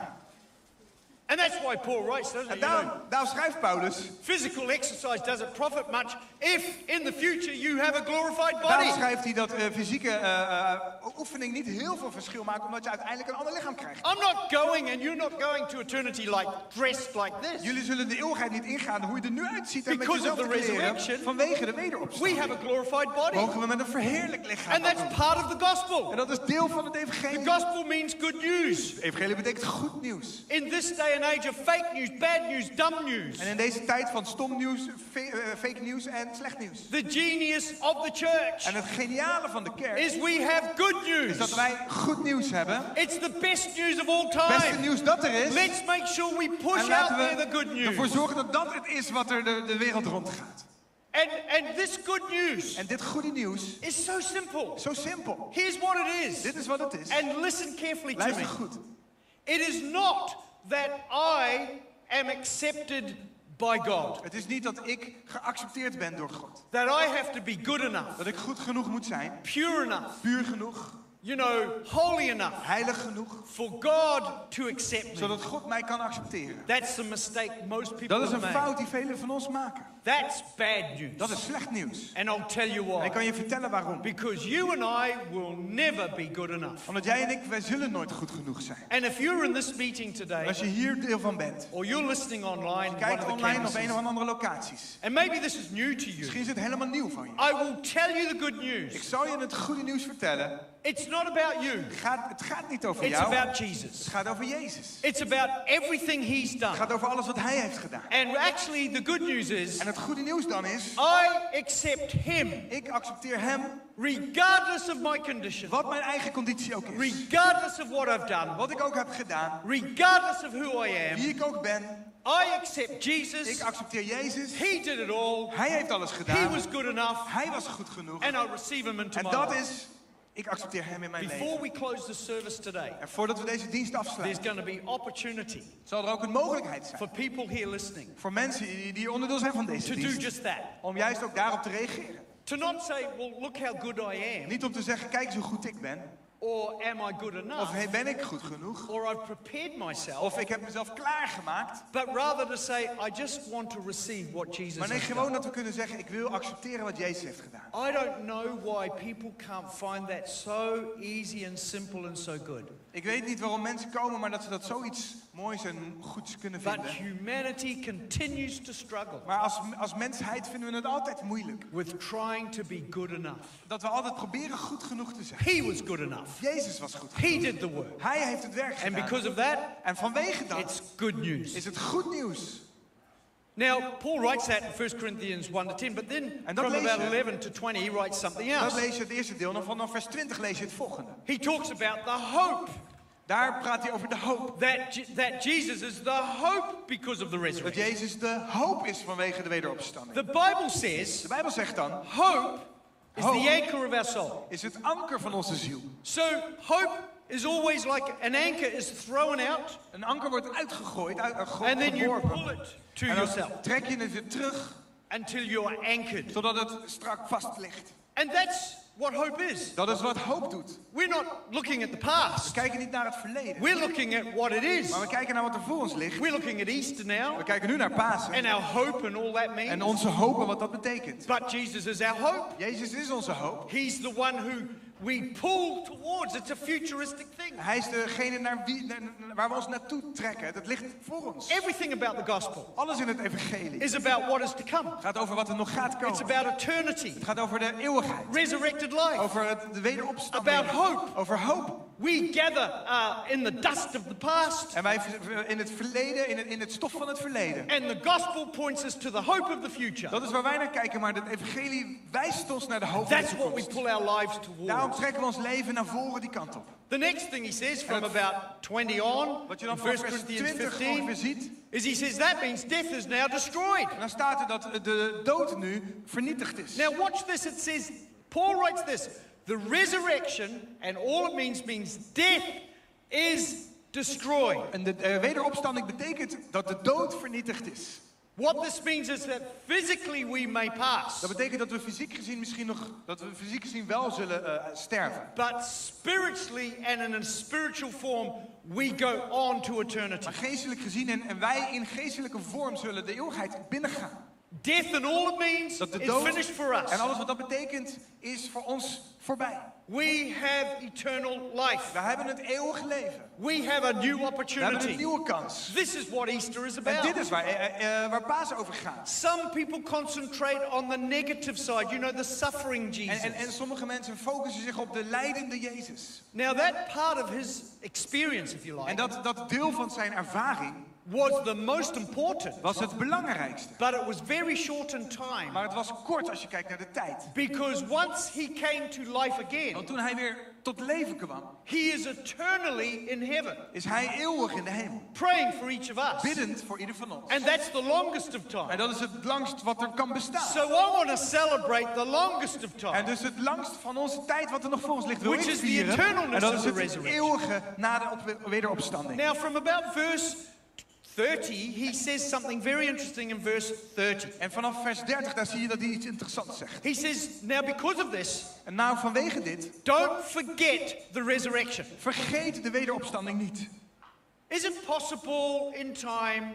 Speaker 2: And that's why Paul writes, doesn't he? You
Speaker 3: En
Speaker 2: know,
Speaker 3: daarom, daarom schrijft Paulus.
Speaker 2: physical exercise doesn't profit much if in the future you have a glorified
Speaker 3: Daarom
Speaker 2: body.
Speaker 3: schrijft hij dat eh, fysieke eh, eh, oefening niet heel veel verschil maakt, omdat je uiteindelijk een ander lichaam krijgt.
Speaker 2: I'm not going and you're not going to eternity like dressed like this.
Speaker 3: Jullie zullen de eeuwigheid niet ingaan hoe je er nu uitziet en
Speaker 2: Because of
Speaker 3: met jezelf
Speaker 2: the resurrection,
Speaker 3: vanwege de
Speaker 2: We
Speaker 3: wederopstanding.
Speaker 2: have a glorified body.
Speaker 3: Mogen we met een verheerlijk lichaam
Speaker 2: And that's
Speaker 3: wandelen.
Speaker 2: part of the
Speaker 3: En
Speaker 2: gospel.
Speaker 3: dat is deel van het
Speaker 2: The
Speaker 3: evangelie.
Speaker 2: gospel means good news.
Speaker 3: Het evangelie betekent goed nieuws.
Speaker 2: In this day and age of fake news, bad news, dumb news,
Speaker 3: En in deze tijd van stom nieuws, fe- eh, fake nieuws en slecht nieuws.
Speaker 2: the genius of the church
Speaker 3: En het geniale van de kerk
Speaker 2: is we have good
Speaker 3: is dat
Speaker 2: news.
Speaker 3: wij goed nieuws hebben.
Speaker 2: It's the best news of all
Speaker 3: Beste
Speaker 2: time.
Speaker 3: nieuws dat er is.
Speaker 2: Let's make sure we push
Speaker 3: En
Speaker 2: out
Speaker 3: laten
Speaker 2: there the good
Speaker 3: we ervoor
Speaker 2: news.
Speaker 3: zorgen dat dat het is wat er de, de wereld rondgaat.
Speaker 2: And, and this good news
Speaker 3: En dit goede nieuws,
Speaker 2: is so simple.
Speaker 3: zo simpel.
Speaker 2: Here's what it is.
Speaker 3: Dit is wat het is.
Speaker 2: And listen carefully to me.
Speaker 3: Luister goed.
Speaker 2: It is not that I am accepted by God,
Speaker 3: Het is niet dat ik geaccepteerd ben door God.
Speaker 2: that I have to be good enough,
Speaker 3: Dat ik goed genoeg moet zijn,
Speaker 2: pure enough,
Speaker 3: puur genoeg,
Speaker 2: you know, holy enough
Speaker 3: heilig genoeg,
Speaker 2: for God to accept me.
Speaker 3: zodat God mij kan accepteren.
Speaker 2: That's the mistake most people
Speaker 3: Dat is een
Speaker 2: have made.
Speaker 3: fout die velen van ons maken.
Speaker 2: That's bad news.
Speaker 3: Dat is slecht nieuws.
Speaker 2: And I'll tell you
Speaker 3: En ik
Speaker 2: why.
Speaker 3: kan je vertellen waarom.
Speaker 2: Because you and I will never be good enough.
Speaker 3: Omdat jij en ik, wij zullen nooit goed genoeg zijn.
Speaker 2: And if you're in this meeting
Speaker 3: En
Speaker 2: today,
Speaker 3: Als je hier deel van bent,
Speaker 2: or you're listening online, one of
Speaker 3: kijk
Speaker 2: the
Speaker 3: online op
Speaker 2: campuses,
Speaker 3: een of andere locaties.
Speaker 2: and maybe this is new to you,
Speaker 3: Misschien is het helemaal nieuw van je.
Speaker 2: I will tell you the good
Speaker 3: Ik
Speaker 2: news.
Speaker 3: zal je het goede nieuws vertellen.
Speaker 2: It's not about you.
Speaker 3: Het gaat, het gaat niet over
Speaker 2: It's
Speaker 3: jou.
Speaker 2: about
Speaker 3: Het
Speaker 2: Jesus.
Speaker 3: gaat over Jezus.
Speaker 2: It's about everything he's
Speaker 3: Het
Speaker 2: done.
Speaker 3: gaat over alles wat Hij heeft gedaan.
Speaker 2: And actually, the good news is
Speaker 3: En het goede nieuws dan is,
Speaker 2: I accept him
Speaker 3: ik accepteer Hem,
Speaker 2: regardless of my condition,
Speaker 3: wat mijn eigen conditie ook is.
Speaker 2: regardless of what I've done,
Speaker 3: Wat ik ook heb gedaan,
Speaker 2: regardless of who I am.
Speaker 3: wie ik ook ben,
Speaker 2: I accept
Speaker 3: ik
Speaker 2: Jesus.
Speaker 3: accepteer Jezus.
Speaker 2: He did it all.
Speaker 3: Hij heeft alles
Speaker 2: He
Speaker 3: gedaan.
Speaker 2: was good enough.
Speaker 3: Hij was goed genoeg.
Speaker 2: And I receive him into
Speaker 3: En
Speaker 2: my
Speaker 3: dat
Speaker 2: life.
Speaker 3: is, ik accepteer Hem in mijn leven.
Speaker 2: Before we close the service today,
Speaker 3: En voordat we deze dienst
Speaker 2: there's
Speaker 3: afsluiten,
Speaker 2: going to be opportunity
Speaker 3: zal er ook een mogelijkheid zijn
Speaker 2: for people here listening
Speaker 3: voor mensen die die onderdeel zijn van deze
Speaker 2: to do
Speaker 3: dienst.
Speaker 2: just that.
Speaker 3: Om juist ook daarop te reageren.
Speaker 2: To not say, well, look how good I am,
Speaker 3: Niet om te zeggen, kijk eens hoe goed ik ben.
Speaker 2: or am I good
Speaker 3: Of
Speaker 2: enough,
Speaker 3: hey, ben ik goed genoeg?
Speaker 2: or I've prepared myself,
Speaker 3: Of ik heb mezelf klaargemaakt.
Speaker 2: but rather to say, I just want to receive what Jesus
Speaker 3: Maar nee,
Speaker 2: has done.
Speaker 3: gewoon dat we kunnen zeggen, ik wil accepteren wat Jezus heeft gedaan.
Speaker 2: I don't know why people can't find that so easy and simple and so good.
Speaker 3: Ik weet niet waarom mensen komen, maar dat ze dat zoiets moois en goeds kunnen
Speaker 2: But
Speaker 3: vinden.
Speaker 2: humanity continues to struggle
Speaker 3: Maar als, als mensheid vinden we het altijd moeilijk.
Speaker 2: with trying to be good enough.
Speaker 3: Dat we altijd proberen goed genoeg te zijn.
Speaker 2: He was good enough.
Speaker 3: Jezus was goed.
Speaker 2: He did the work.
Speaker 3: Hij heeft het werk
Speaker 2: And
Speaker 3: gedaan.
Speaker 2: because of that,
Speaker 3: En vanwege dat
Speaker 2: it's good news.
Speaker 3: is het goed nieuws.
Speaker 2: Now, Paul writes that in 1 Corinthians 1 to 10, but then
Speaker 3: En dat
Speaker 2: from
Speaker 3: lees
Speaker 2: about
Speaker 3: je.
Speaker 2: 11 to 20, he writes something
Speaker 3: Dat
Speaker 2: else.
Speaker 3: lees je het eerste deel. En vanaf vers 20 lees je het volgende.
Speaker 2: He talks about the hope
Speaker 3: Daar praat hij over de hoop.
Speaker 2: that, Je- that Jesus is the hope because of the
Speaker 3: Dat
Speaker 2: resurrection.
Speaker 3: Jezus de hoop is vanwege de wederopstanding.
Speaker 2: The Bible
Speaker 3: De
Speaker 2: says
Speaker 3: Bijbel zegt dan,
Speaker 2: hope is
Speaker 3: Hope.
Speaker 2: the anchor of our soul.
Speaker 3: is het anker van onze ziel.
Speaker 2: So hope is always like an anchor is thrown out
Speaker 3: Een anker wordt uitgegooid, uit, eh, ge-
Speaker 2: and then you
Speaker 3: geworpen.
Speaker 2: pull it to
Speaker 3: En
Speaker 2: yourself
Speaker 3: dan trek je het weer terug,
Speaker 2: until you're anchored.
Speaker 3: zodat het strak vast ligt.
Speaker 2: And that's what hope is.
Speaker 3: Dat is wat hoop doet.
Speaker 2: We're not looking at the
Speaker 3: We
Speaker 2: past.
Speaker 3: kijken niet naar het verleden,
Speaker 2: We're looking at what it is.
Speaker 3: maar we kijken naar wat er voor ons ligt.
Speaker 2: We're looking at Easter
Speaker 3: We
Speaker 2: now
Speaker 3: kijken nu naar Pasen
Speaker 2: and our hope and all that
Speaker 3: en
Speaker 2: means.
Speaker 3: onze hoop en wat dat betekent.
Speaker 2: But Jesus is our hope.
Speaker 3: Jezus is onze hoop.
Speaker 2: He's the one who we pull towards. It's a futuristic thing.
Speaker 3: Hij is degene naar wie, naar- naar- waar we ons naartoe trekken. Dat ligt voor ons.
Speaker 2: Everything about the gospel
Speaker 3: Alles in het evangelie
Speaker 2: is about what is to come.
Speaker 3: gaat over wat er nog gaat komen.
Speaker 2: It's about eternity,
Speaker 3: Het gaat over de eeuwigheid.
Speaker 2: resurrected life.
Speaker 3: Over het, de wederopstanding.
Speaker 2: About hope.
Speaker 3: Over hoop.
Speaker 2: We gather uh, in the dust of the past,
Speaker 3: En wij v- v- in het verleden, in het, in het stof van het verleden.
Speaker 2: and the gospel points us to the hope of the future.
Speaker 3: Dat is waar wij naar kijken, maar het evangelie wijst ons naar de hoop van de
Speaker 2: That's what we
Speaker 3: toekomst.
Speaker 2: pull our lives
Speaker 3: Daarom
Speaker 2: towards.
Speaker 3: trekken we ons leven naar voren die kant op.
Speaker 2: The next thing he says from about 20 on,
Speaker 3: Wat je dan
Speaker 2: in
Speaker 3: vanaf
Speaker 2: 1
Speaker 3: vers
Speaker 2: Corinthians
Speaker 3: 20 ongeveer
Speaker 2: 15,
Speaker 3: ziet.
Speaker 2: is he says that means death is now destroyed.
Speaker 3: En dan staat er dat de dood nu vernietigd is.
Speaker 2: Now watch this. It says Paul writes this: the resurrection and all it means means death is destroyed.
Speaker 3: En de eh, wederopstanding betekent dat de dood vernietigd is.
Speaker 2: What this means is that physically we may pass,
Speaker 3: Dat betekent dat we fysiek gezien misschien nog, dat we fysiek gezien wel zullen eh, sterven.
Speaker 2: but spiritually and in a spiritual form, we go on to eternity.
Speaker 3: Maar geestelijk gezien en, en wij in geestelijke vorm zullen de eeuwigheid binnengaan.
Speaker 2: Death and all it means
Speaker 3: Dat de
Speaker 2: is
Speaker 3: dood
Speaker 2: finished for us.
Speaker 3: en alles wat dat betekent is voor ons voorbij.
Speaker 2: We have eternal life.
Speaker 3: We hebben het eeuwig leven.
Speaker 2: We have a new
Speaker 3: We hebben een
Speaker 2: opportunity.
Speaker 3: nieuwe kans.
Speaker 2: This is what Easter is
Speaker 3: En
Speaker 2: about.
Speaker 3: dit is waar, eh, eh, eh, waar Paas over gaat.
Speaker 2: Some people concentrate on the negative side, you know, the suffering
Speaker 3: En,
Speaker 2: Jesus.
Speaker 3: en, en sommige mensen focussen zich op de leidende Jezus.
Speaker 2: now, that part of his experience, if you
Speaker 3: En
Speaker 2: like,
Speaker 3: dat, dat deel van zijn ervaring
Speaker 2: was the most important,
Speaker 3: was het belangrijkste.
Speaker 2: but it was very short in time.
Speaker 3: Maar het was kort als je kijkt naar de tijd.
Speaker 2: Because once he came to life again,
Speaker 3: Want toen hij weer tot leven kwam,
Speaker 2: he is eternally in heaven,
Speaker 3: is hij eeuwig in de hemel.
Speaker 2: praying for each of us.
Speaker 3: Biddend voor ieder van ons.
Speaker 2: And that's the longest of
Speaker 3: En
Speaker 2: time.
Speaker 3: dat is het langst wat er kan bestaan.
Speaker 2: So I want to celebrate the longest of
Speaker 3: En
Speaker 2: time.
Speaker 3: dus het langst van onze tijd wat er nog voor ons ligt wil
Speaker 2: Which
Speaker 3: ik
Speaker 2: is the
Speaker 3: vieren.
Speaker 2: eternalness
Speaker 3: En dat
Speaker 2: of
Speaker 3: is
Speaker 2: the
Speaker 3: het
Speaker 2: resurrection.
Speaker 3: eeuwige na de op- wederopstanding.
Speaker 2: Now, from about verse 30, he says something very interesting in verse 30.
Speaker 3: En vanaf vers 30, daar zie je dat hij iets interessants zegt.
Speaker 2: He says, Now, because of this,
Speaker 3: En nou vanwege dit,
Speaker 2: don't forget the resurrection.
Speaker 3: vergeet de wederopstanding niet.
Speaker 2: Is it possible in time,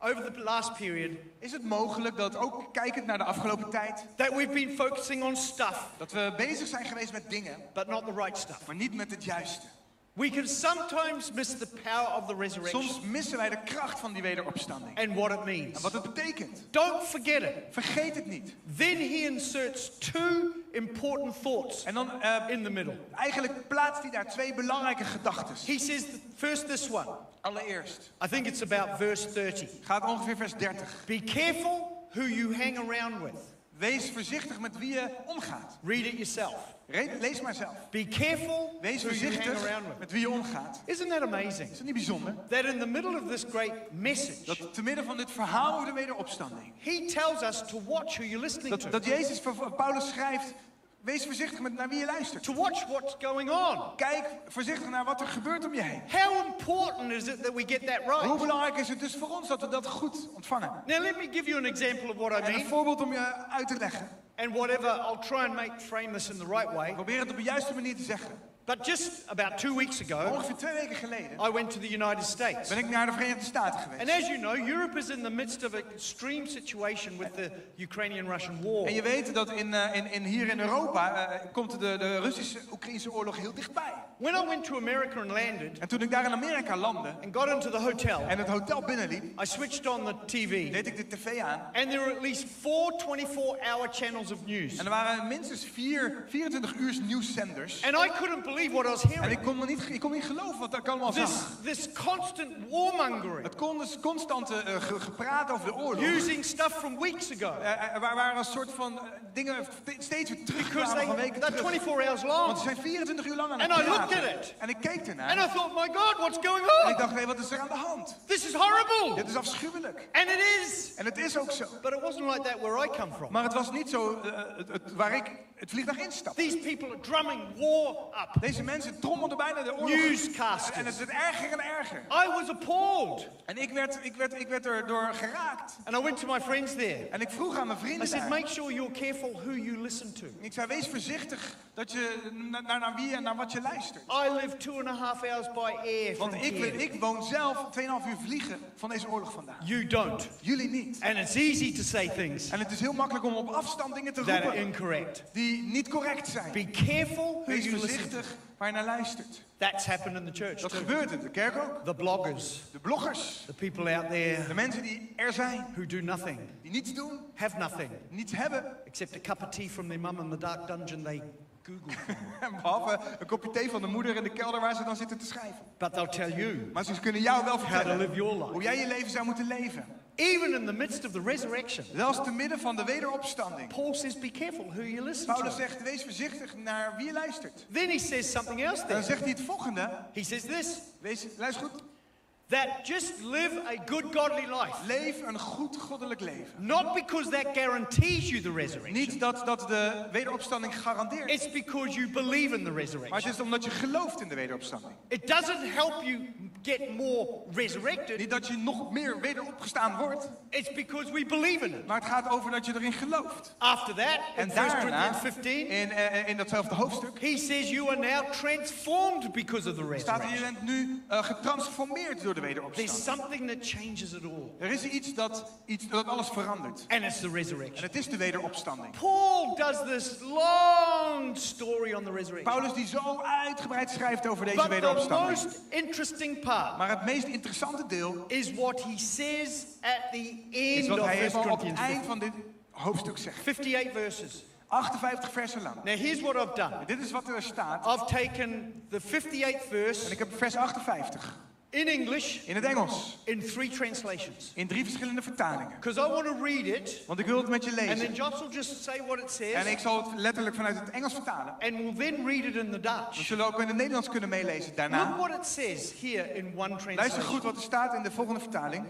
Speaker 2: over the last period,
Speaker 3: Is het mogelijk dat ook kijkend naar de afgelopen tijd,
Speaker 2: that we've been focusing on stuff,
Speaker 3: dat we bezig zijn geweest met dingen,
Speaker 2: but not the right stuff?
Speaker 3: maar niet met het juiste?
Speaker 2: We can sometimes miss the power of the resurrection
Speaker 3: Soms missen wij de kracht van die wederopstanding.
Speaker 2: and what it means.
Speaker 3: En wat het betekent.
Speaker 2: Don't forget it.
Speaker 3: Vergeet het niet.
Speaker 2: Then he inserts two important thoughts
Speaker 3: En dan, eh,
Speaker 2: in the middle.
Speaker 3: eigenlijk plaatst hij daar twee belangrijke gedachten.
Speaker 2: He says, first, this one.
Speaker 3: Allereerst
Speaker 2: I think it's about verse 30.
Speaker 3: gaat ongeveer vers 30.
Speaker 2: Be careful who you hang around with.
Speaker 3: Wees voorzichtig met wie je omgaat.
Speaker 2: Read it yourself.
Speaker 3: Re- Lees maar zelf.
Speaker 2: Be careful who
Speaker 3: Wees
Speaker 2: you hang around
Speaker 3: voorzichtig
Speaker 2: with.
Speaker 3: met wie je omgaat.
Speaker 2: Isn't that amazing?
Speaker 3: Is dat niet bijzonder?
Speaker 2: That in the middle of this great message,
Speaker 3: Dat te midden van dit verhaal over de wederopstanding.
Speaker 2: he tells us to watch who you're listening
Speaker 3: Dat,
Speaker 2: to,
Speaker 3: dat Jezus van Paulus schrijft. Wees voorzichtig met naar wie je luistert.
Speaker 2: to watch what's going on.
Speaker 3: Kijk voorzichtig naar wat er gebeurt om je heen.
Speaker 2: How important is it that we get that
Speaker 3: Hoe
Speaker 2: right?
Speaker 3: belangrijk is het dus voor ons dat we dat goed ontvangen?
Speaker 2: Now, let me give you an example of what I
Speaker 3: En een
Speaker 2: mean,
Speaker 3: voorbeeld om je uit te leggen.
Speaker 2: and whatever, I'll try and make frame this in the right way.
Speaker 3: Probeer het op de juiste manier te zeggen.
Speaker 2: But just about two weeks ago,
Speaker 3: Ongeveer twee weken geleden
Speaker 2: I went to the United States.
Speaker 3: ben ik naar de Verenigde Staten geweest.
Speaker 2: And as you know, Europe is in the midst of an extreme situation with the Ukrainian Russian war.
Speaker 3: En je weet dat in, eh, in, in hier in Europa eh, komt de, de Russische-Oekraïnse oorlog heel dichtbij.
Speaker 2: When I went to America and landed
Speaker 3: En toen ik daar in Amerika landde
Speaker 2: and got into the hotel,
Speaker 3: en het hotel binnenliep,
Speaker 2: I switched on the TV.
Speaker 3: deed ik de tv aan.
Speaker 2: And there were at least four 24 hour channels of news.
Speaker 3: En er waren minstens vier 24 uur nieuwszenders.
Speaker 2: And I couldn't believe what I was
Speaker 3: En ik
Speaker 2: hearing.
Speaker 3: kon, me niet, ik kon niet geloven wat ik allemaal
Speaker 2: This,
Speaker 3: zag.
Speaker 2: this constant warmongering,
Speaker 3: Het kon dus constante eh, ge- gepraat over de oorlog.
Speaker 2: using stuff from weeks ago.
Speaker 3: Eh, eh, waar waren een soort van eh, dingen st- steeds weer
Speaker 2: Because
Speaker 3: terugkwamen van
Speaker 2: they,
Speaker 3: weken
Speaker 2: they're
Speaker 3: terug.
Speaker 2: 24 hours
Speaker 3: Want ze
Speaker 2: long.
Speaker 3: zijn 24 uur lang aan het
Speaker 2: And I looked
Speaker 3: praten.
Speaker 2: at it.
Speaker 3: En ik keek ernaar.
Speaker 2: And I thought, my God, what's going
Speaker 3: En ik
Speaker 2: on?
Speaker 3: dacht, hé, wat is er aan de hand?
Speaker 2: This is horrible.
Speaker 3: Dit is afschuwelijk.
Speaker 2: And it is.
Speaker 3: En het is ook zo.
Speaker 2: But it wasn't like that where I come from.
Speaker 3: Maar het was niet zo eh, het, het- waar ik het vliegtuig instapte.
Speaker 2: These people are drumming war up.
Speaker 3: Deze mensen trommelden bijna de oorlog.
Speaker 2: Newscasters.
Speaker 3: En het werd erger en erger.
Speaker 2: I was appalled.
Speaker 3: En ik werd, ik werd, ik werd er door geraakt.
Speaker 2: And I went to my friends there.
Speaker 3: En ik vroeg aan mijn
Speaker 2: I
Speaker 3: vrienden
Speaker 2: said,
Speaker 3: daar.
Speaker 2: make sure you're careful who you listen to.
Speaker 3: Ik zei, wees voorzichtig dat je na- naar, naar wie en naar wat je luistert.
Speaker 2: I live two and a half hours by air from
Speaker 3: Want ik,
Speaker 2: here.
Speaker 3: ik woon zelf 2,5 uur vliegen van deze oorlog vandaan.
Speaker 2: You don't.
Speaker 3: Jullie niet.
Speaker 2: And it's easy to say things
Speaker 3: En het is heel makkelijk om op afstand dingen te
Speaker 2: that are
Speaker 3: roepen
Speaker 2: incorrect.
Speaker 3: die niet correct zijn.
Speaker 2: Be careful who
Speaker 3: Wees
Speaker 2: you listen to.
Speaker 3: voorzichtig waar je naar luistert.
Speaker 2: That's happened in the church.
Speaker 3: Dat
Speaker 2: too.
Speaker 3: gebeurt in de kerk ook.
Speaker 2: The bloggers,
Speaker 3: De bloggers,
Speaker 2: the people out there
Speaker 3: de mensen die er zijn,
Speaker 2: who do nothing,
Speaker 3: die niets doen,
Speaker 2: have nothing,
Speaker 3: niets hebben.
Speaker 2: except a cup of tea from their mum in the dark dungeon they Google.
Speaker 3: En behalve een kopje thee van de moeder in de kelder waar ze dan zitten te schrijven.
Speaker 2: But they'll tell you
Speaker 3: Maar ze kunnen jou wel
Speaker 2: how to
Speaker 3: vertellen
Speaker 2: live your life.
Speaker 3: hoe jij je leven zou moeten leven.
Speaker 2: Even in the midst of the resurrection,
Speaker 3: Zelfs te midden van de wederopstanding.
Speaker 2: Paul says, Be careful who you listen
Speaker 3: Paulus
Speaker 2: to.
Speaker 3: zegt, wees voorzichtig naar wie je luistert.
Speaker 2: Then he says something else
Speaker 3: En dan
Speaker 2: there.
Speaker 3: zegt hij het volgende.
Speaker 2: He says this
Speaker 3: Wees, luister goed.
Speaker 2: that just live a good godly life.
Speaker 3: Leef een goed goddelijk leven.
Speaker 2: Not because that guarantees you the resurrection,
Speaker 3: Niet dat, dat de wederopstanding garandeert,
Speaker 2: it's because you believe in the
Speaker 3: maar
Speaker 2: resurrection.
Speaker 3: het is omdat je gelooft in de wederopstanding.
Speaker 2: It doesn't help you get more resurrected,
Speaker 3: Niet dat je nog meer wederopgestaan wordt,
Speaker 2: it's because we believe in it.
Speaker 3: maar het gaat over dat je erin gelooft.
Speaker 2: After that, in
Speaker 3: En
Speaker 2: 1
Speaker 3: daarna,
Speaker 2: Corinthians 15,
Speaker 3: in, eh, in datzelfde hoofdstuk,
Speaker 2: he says you are now transformed because of the
Speaker 3: staat er, je
Speaker 2: resurrection.
Speaker 3: bent nu eh, getransformeerd door de
Speaker 2: There's
Speaker 3: wederopstanding.
Speaker 2: something that changes it all,
Speaker 3: Er is iets dat, iets dat alles verandert.
Speaker 2: and it's the
Speaker 3: En
Speaker 2: resurrection.
Speaker 3: het is de wederopstanding.
Speaker 2: Paul does this long story on the resurrection.
Speaker 3: Paulus die zo uitgebreid schrijft over deze
Speaker 2: But the
Speaker 3: wederopstanding.
Speaker 2: most interesting part
Speaker 3: Maar het meest interessante deel
Speaker 2: is what he says at the
Speaker 3: is
Speaker 2: end
Speaker 3: wat
Speaker 2: of
Speaker 3: hij
Speaker 2: 1
Speaker 3: helemaal op het
Speaker 2: Corinthians
Speaker 3: eind van dit hoofdstuk zegt.
Speaker 2: 58 verses.
Speaker 3: 58 versen lang.
Speaker 2: Now, here's what I've done.
Speaker 3: En dit is wat er staat.
Speaker 2: I've taken the 58th
Speaker 3: En
Speaker 2: verse
Speaker 3: ik heb vers 58
Speaker 2: in English
Speaker 3: in het Engels.
Speaker 2: in three translations
Speaker 3: In drie verschillende vertalingen.
Speaker 2: because I want to read it
Speaker 3: Want ik wil het met je
Speaker 2: and then
Speaker 3: lezen.
Speaker 2: Josh will just say what it
Speaker 3: En
Speaker 2: says
Speaker 3: ik zal het letterlijk vanuit het Engels vertalen.
Speaker 2: and we'll then read it in the
Speaker 3: We
Speaker 2: Dutch.
Speaker 3: zullen ook in het Nederlands kunnen meelezen
Speaker 2: Look
Speaker 3: daarna.
Speaker 2: what it says here in one
Speaker 3: Luister goed
Speaker 2: translation.
Speaker 3: wat er staat in de volgende vertaling.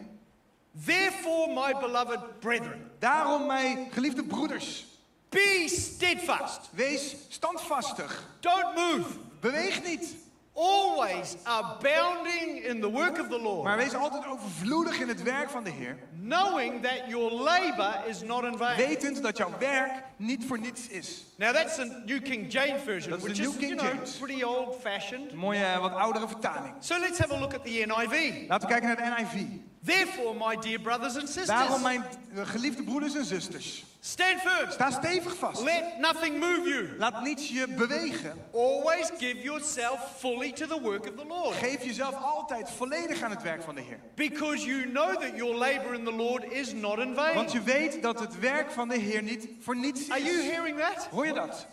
Speaker 2: Therefore, my beloved brethren,
Speaker 3: Daarom, mijn geliefde broeders,
Speaker 2: be steadfast,
Speaker 3: wees standvastig.
Speaker 2: don't move,
Speaker 3: Beweeg niet,
Speaker 2: always abounding in the work of the Lord,
Speaker 3: maar wees altijd overvloedig in het werk van de Heer.
Speaker 2: knowing that your labor is not in vain.
Speaker 3: Wetend dat jouw werk niet voor niets is.
Speaker 2: Now, that's the New King James Version,
Speaker 3: Dat is de
Speaker 2: which
Speaker 3: New
Speaker 2: is,
Speaker 3: King
Speaker 2: you know,
Speaker 3: James.
Speaker 2: pretty old fashioned.
Speaker 3: Een mooie, eh, wat oudere vertaling.
Speaker 2: So let's have a look at the NIV.
Speaker 3: Laten we kijken naar de NIV.
Speaker 2: Therefore, my dear brothers and sisters,
Speaker 3: Daarom, mijn eh, geliefde broeders en zusters,
Speaker 2: stand firm.
Speaker 3: sta stevig vast.
Speaker 2: Let nothing move you.
Speaker 3: Laat niets je bewegen.
Speaker 2: Always give yourself fully to the work of the Lord,
Speaker 3: Geef jezelf altijd volledig aan het werk van de Heer.
Speaker 2: because you know that your labor in the Lord is not in vain.
Speaker 3: Want je weet dat het werk van de Heer niet voor niets
Speaker 2: Are you
Speaker 3: is.
Speaker 2: hearing that?
Speaker 3: Hoor je dat?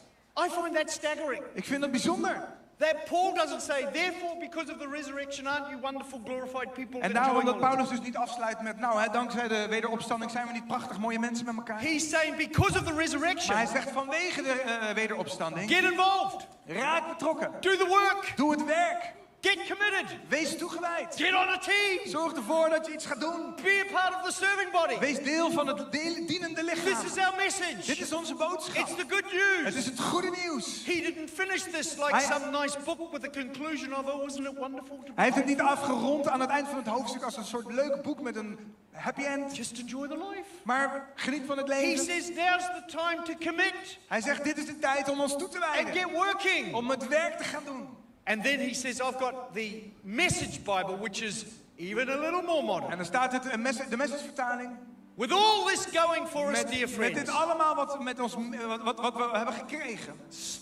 Speaker 2: I find that staggering.
Speaker 3: Ik vind dat bijzonder.
Speaker 2: That Paul doesn't say, therefore, because of the resurrection, aren't you wonderful, glorified people?
Speaker 3: En daarom
Speaker 2: enjoying
Speaker 3: dat
Speaker 2: all of
Speaker 3: Paulus dus niet afsluit met, nou, hè, dankzij de wederopstanding zijn we niet prachtig mooie mensen met
Speaker 2: it?"
Speaker 3: elkaar.
Speaker 2: He's saying, because of the
Speaker 3: Maar hij
Speaker 2: resurrection,
Speaker 3: zegt vanwege de eh, wederopstanding,
Speaker 2: get involved,
Speaker 3: raak betrokken.
Speaker 2: do the work,
Speaker 3: Doe het werk.
Speaker 2: get committed,
Speaker 3: Wees toegewijd.
Speaker 2: get on a team,
Speaker 3: Zorg ervoor dat je iets gaat doen.
Speaker 2: be a part of the serving body.
Speaker 3: Wees deel van het deel- dienende
Speaker 2: This
Speaker 3: lichaam.
Speaker 2: is our
Speaker 3: Dit
Speaker 2: message.
Speaker 3: is onze
Speaker 2: It's
Speaker 3: boodschap.
Speaker 2: the good
Speaker 3: Het
Speaker 2: news.
Speaker 3: is het goede nieuws.
Speaker 2: He didn't finish this like
Speaker 3: Hij-
Speaker 2: some nice book with a conclusion of, oh, isn't it wonderful to
Speaker 3: Hij heeft het niet afgerond aan het eind van het hoofdstuk als een soort leuk boek met een happy end.
Speaker 2: just enjoy the life?
Speaker 3: Maar geniet van het
Speaker 2: He
Speaker 3: leven.
Speaker 2: says now's the time to commit
Speaker 3: Hij zegt, dit is de tijd om ons toe te
Speaker 2: and
Speaker 3: wijden.
Speaker 2: get working.
Speaker 3: Om het werk te gaan doen.
Speaker 2: And then he says, I've got the message Bible, which is even a little more
Speaker 3: En
Speaker 2: modern.
Speaker 3: dan staat het, een messa- de messagevertaling.
Speaker 2: With all this going for us, dear
Speaker 3: Met, met dit
Speaker 2: friends,
Speaker 3: allemaal wat, we met ons, wat, wat, wat we hebben gekregen.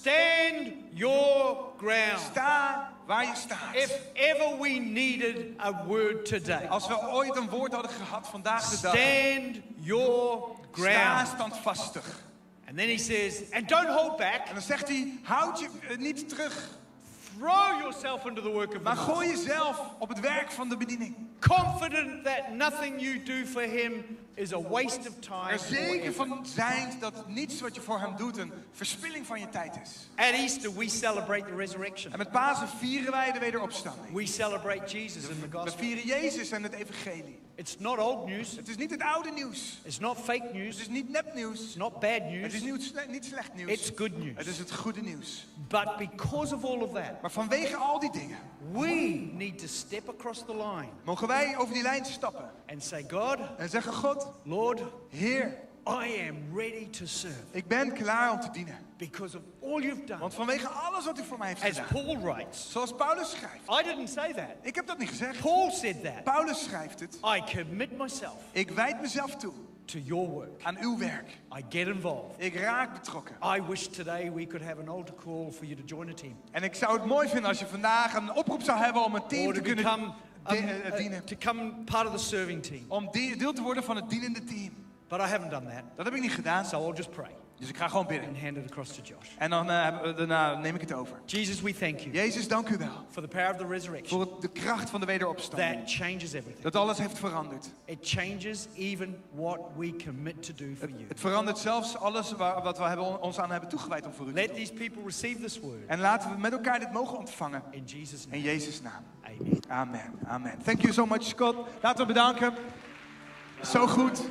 Speaker 2: stand your ground.
Speaker 3: Sta waar je staat.
Speaker 2: If ever we needed a word today,
Speaker 3: Als we ooit een woord hadden gehad vandaag de dag.
Speaker 2: stand your
Speaker 3: Sta
Speaker 2: ground.
Speaker 3: standvastig.
Speaker 2: And then he says, and don't hold back.
Speaker 3: En dan zegt hij, houd je eh, niet terug.
Speaker 2: Throw yourself into the work of the
Speaker 3: Maar
Speaker 2: Lord,
Speaker 3: gooi jezelf op het werk van de bediening.
Speaker 2: confident that nothing you do for Him is a waste of time.
Speaker 3: Er zeker van zijn dat niets wat je voor hem doet een verspilling van je tijd is.
Speaker 2: At Easter, we celebrate the resurrection.
Speaker 3: En met Pasen vieren wij de wederopstanding.
Speaker 2: We celebrate Jesus in the
Speaker 3: We
Speaker 2: gospel.
Speaker 3: vieren Jezus en het evangelie.
Speaker 2: It's not old news.
Speaker 3: Het is niet het oude nieuws.
Speaker 2: It's not fake
Speaker 3: Het
Speaker 2: news.
Speaker 3: is niet nepnieuws.
Speaker 2: It's not bad
Speaker 3: Het is
Speaker 2: news.
Speaker 3: nieuws, nee, niet slecht nieuws.
Speaker 2: It's good news.
Speaker 3: Het is het goede nieuws.
Speaker 2: But because of all of that,
Speaker 3: Maar vanwege al die dingen
Speaker 2: we need to step across the line
Speaker 3: mogen wij over die lijn stappen.
Speaker 2: and say, God,
Speaker 3: En zeggen, God,
Speaker 2: Lord,
Speaker 3: Heer,
Speaker 2: I am ready to serve
Speaker 3: ik ben klaar om te dienen.
Speaker 2: because of all you've done.
Speaker 3: Want vanwege alles wat u voor mij heeft
Speaker 2: As
Speaker 3: gedaan.
Speaker 2: Paul writes,
Speaker 3: Zoals Paulus
Speaker 2: I
Speaker 3: schrijft.
Speaker 2: didn't say that.
Speaker 3: Ik heb dat niet gezegd.
Speaker 2: Paul said that.
Speaker 3: Paulus schrijft het.
Speaker 2: I commit myself
Speaker 3: Ik wijd mezelf toe
Speaker 2: to your work.
Speaker 3: aan uw werk.
Speaker 2: I get involved.
Speaker 3: Ik raak betrokken.
Speaker 2: I wish today we could have an altar call for you to join a team
Speaker 3: En ik zou het mooi vinden als je vandaag een oproep zou hebben om een team
Speaker 2: or
Speaker 3: te
Speaker 2: to
Speaker 3: kunnen
Speaker 2: become
Speaker 3: di-
Speaker 2: um,
Speaker 3: eh,
Speaker 2: uh,
Speaker 3: dienen.
Speaker 2: to come part of the serving team.
Speaker 3: Om die- deel te worden van het dienende team.
Speaker 2: But I haven't done that,
Speaker 3: Dat heb ik niet gedaan.
Speaker 2: so I'll just pray.
Speaker 3: Dus ik ga gewoon
Speaker 2: and
Speaker 3: bidden.
Speaker 2: hand it across to Josh.
Speaker 3: En dan eh, hebben we- daarna neem ik het over.
Speaker 2: Jesus, we thank you
Speaker 3: Jezus, dank u wel.
Speaker 2: for the power of the resurrection
Speaker 3: Voor het- de kracht van de wederopstanding.
Speaker 2: that changes everything.
Speaker 3: Dat alles heeft veranderd.
Speaker 2: It changes even what we commit to do for
Speaker 3: Het,
Speaker 2: you.
Speaker 3: het verandert zelfs alles waar, wat we hebben, ons aan hebben toegewijd om voor u te
Speaker 2: Let
Speaker 3: doen.
Speaker 2: these people receive this word
Speaker 3: En laten we met elkaar dit mogen ontvangen.
Speaker 2: in Jesus'
Speaker 3: In
Speaker 2: name.
Speaker 3: Jezus' naam.
Speaker 2: Amen.
Speaker 3: Amen. Amen. Thank you so much, Scott. Laten we bedanken. Zo goed.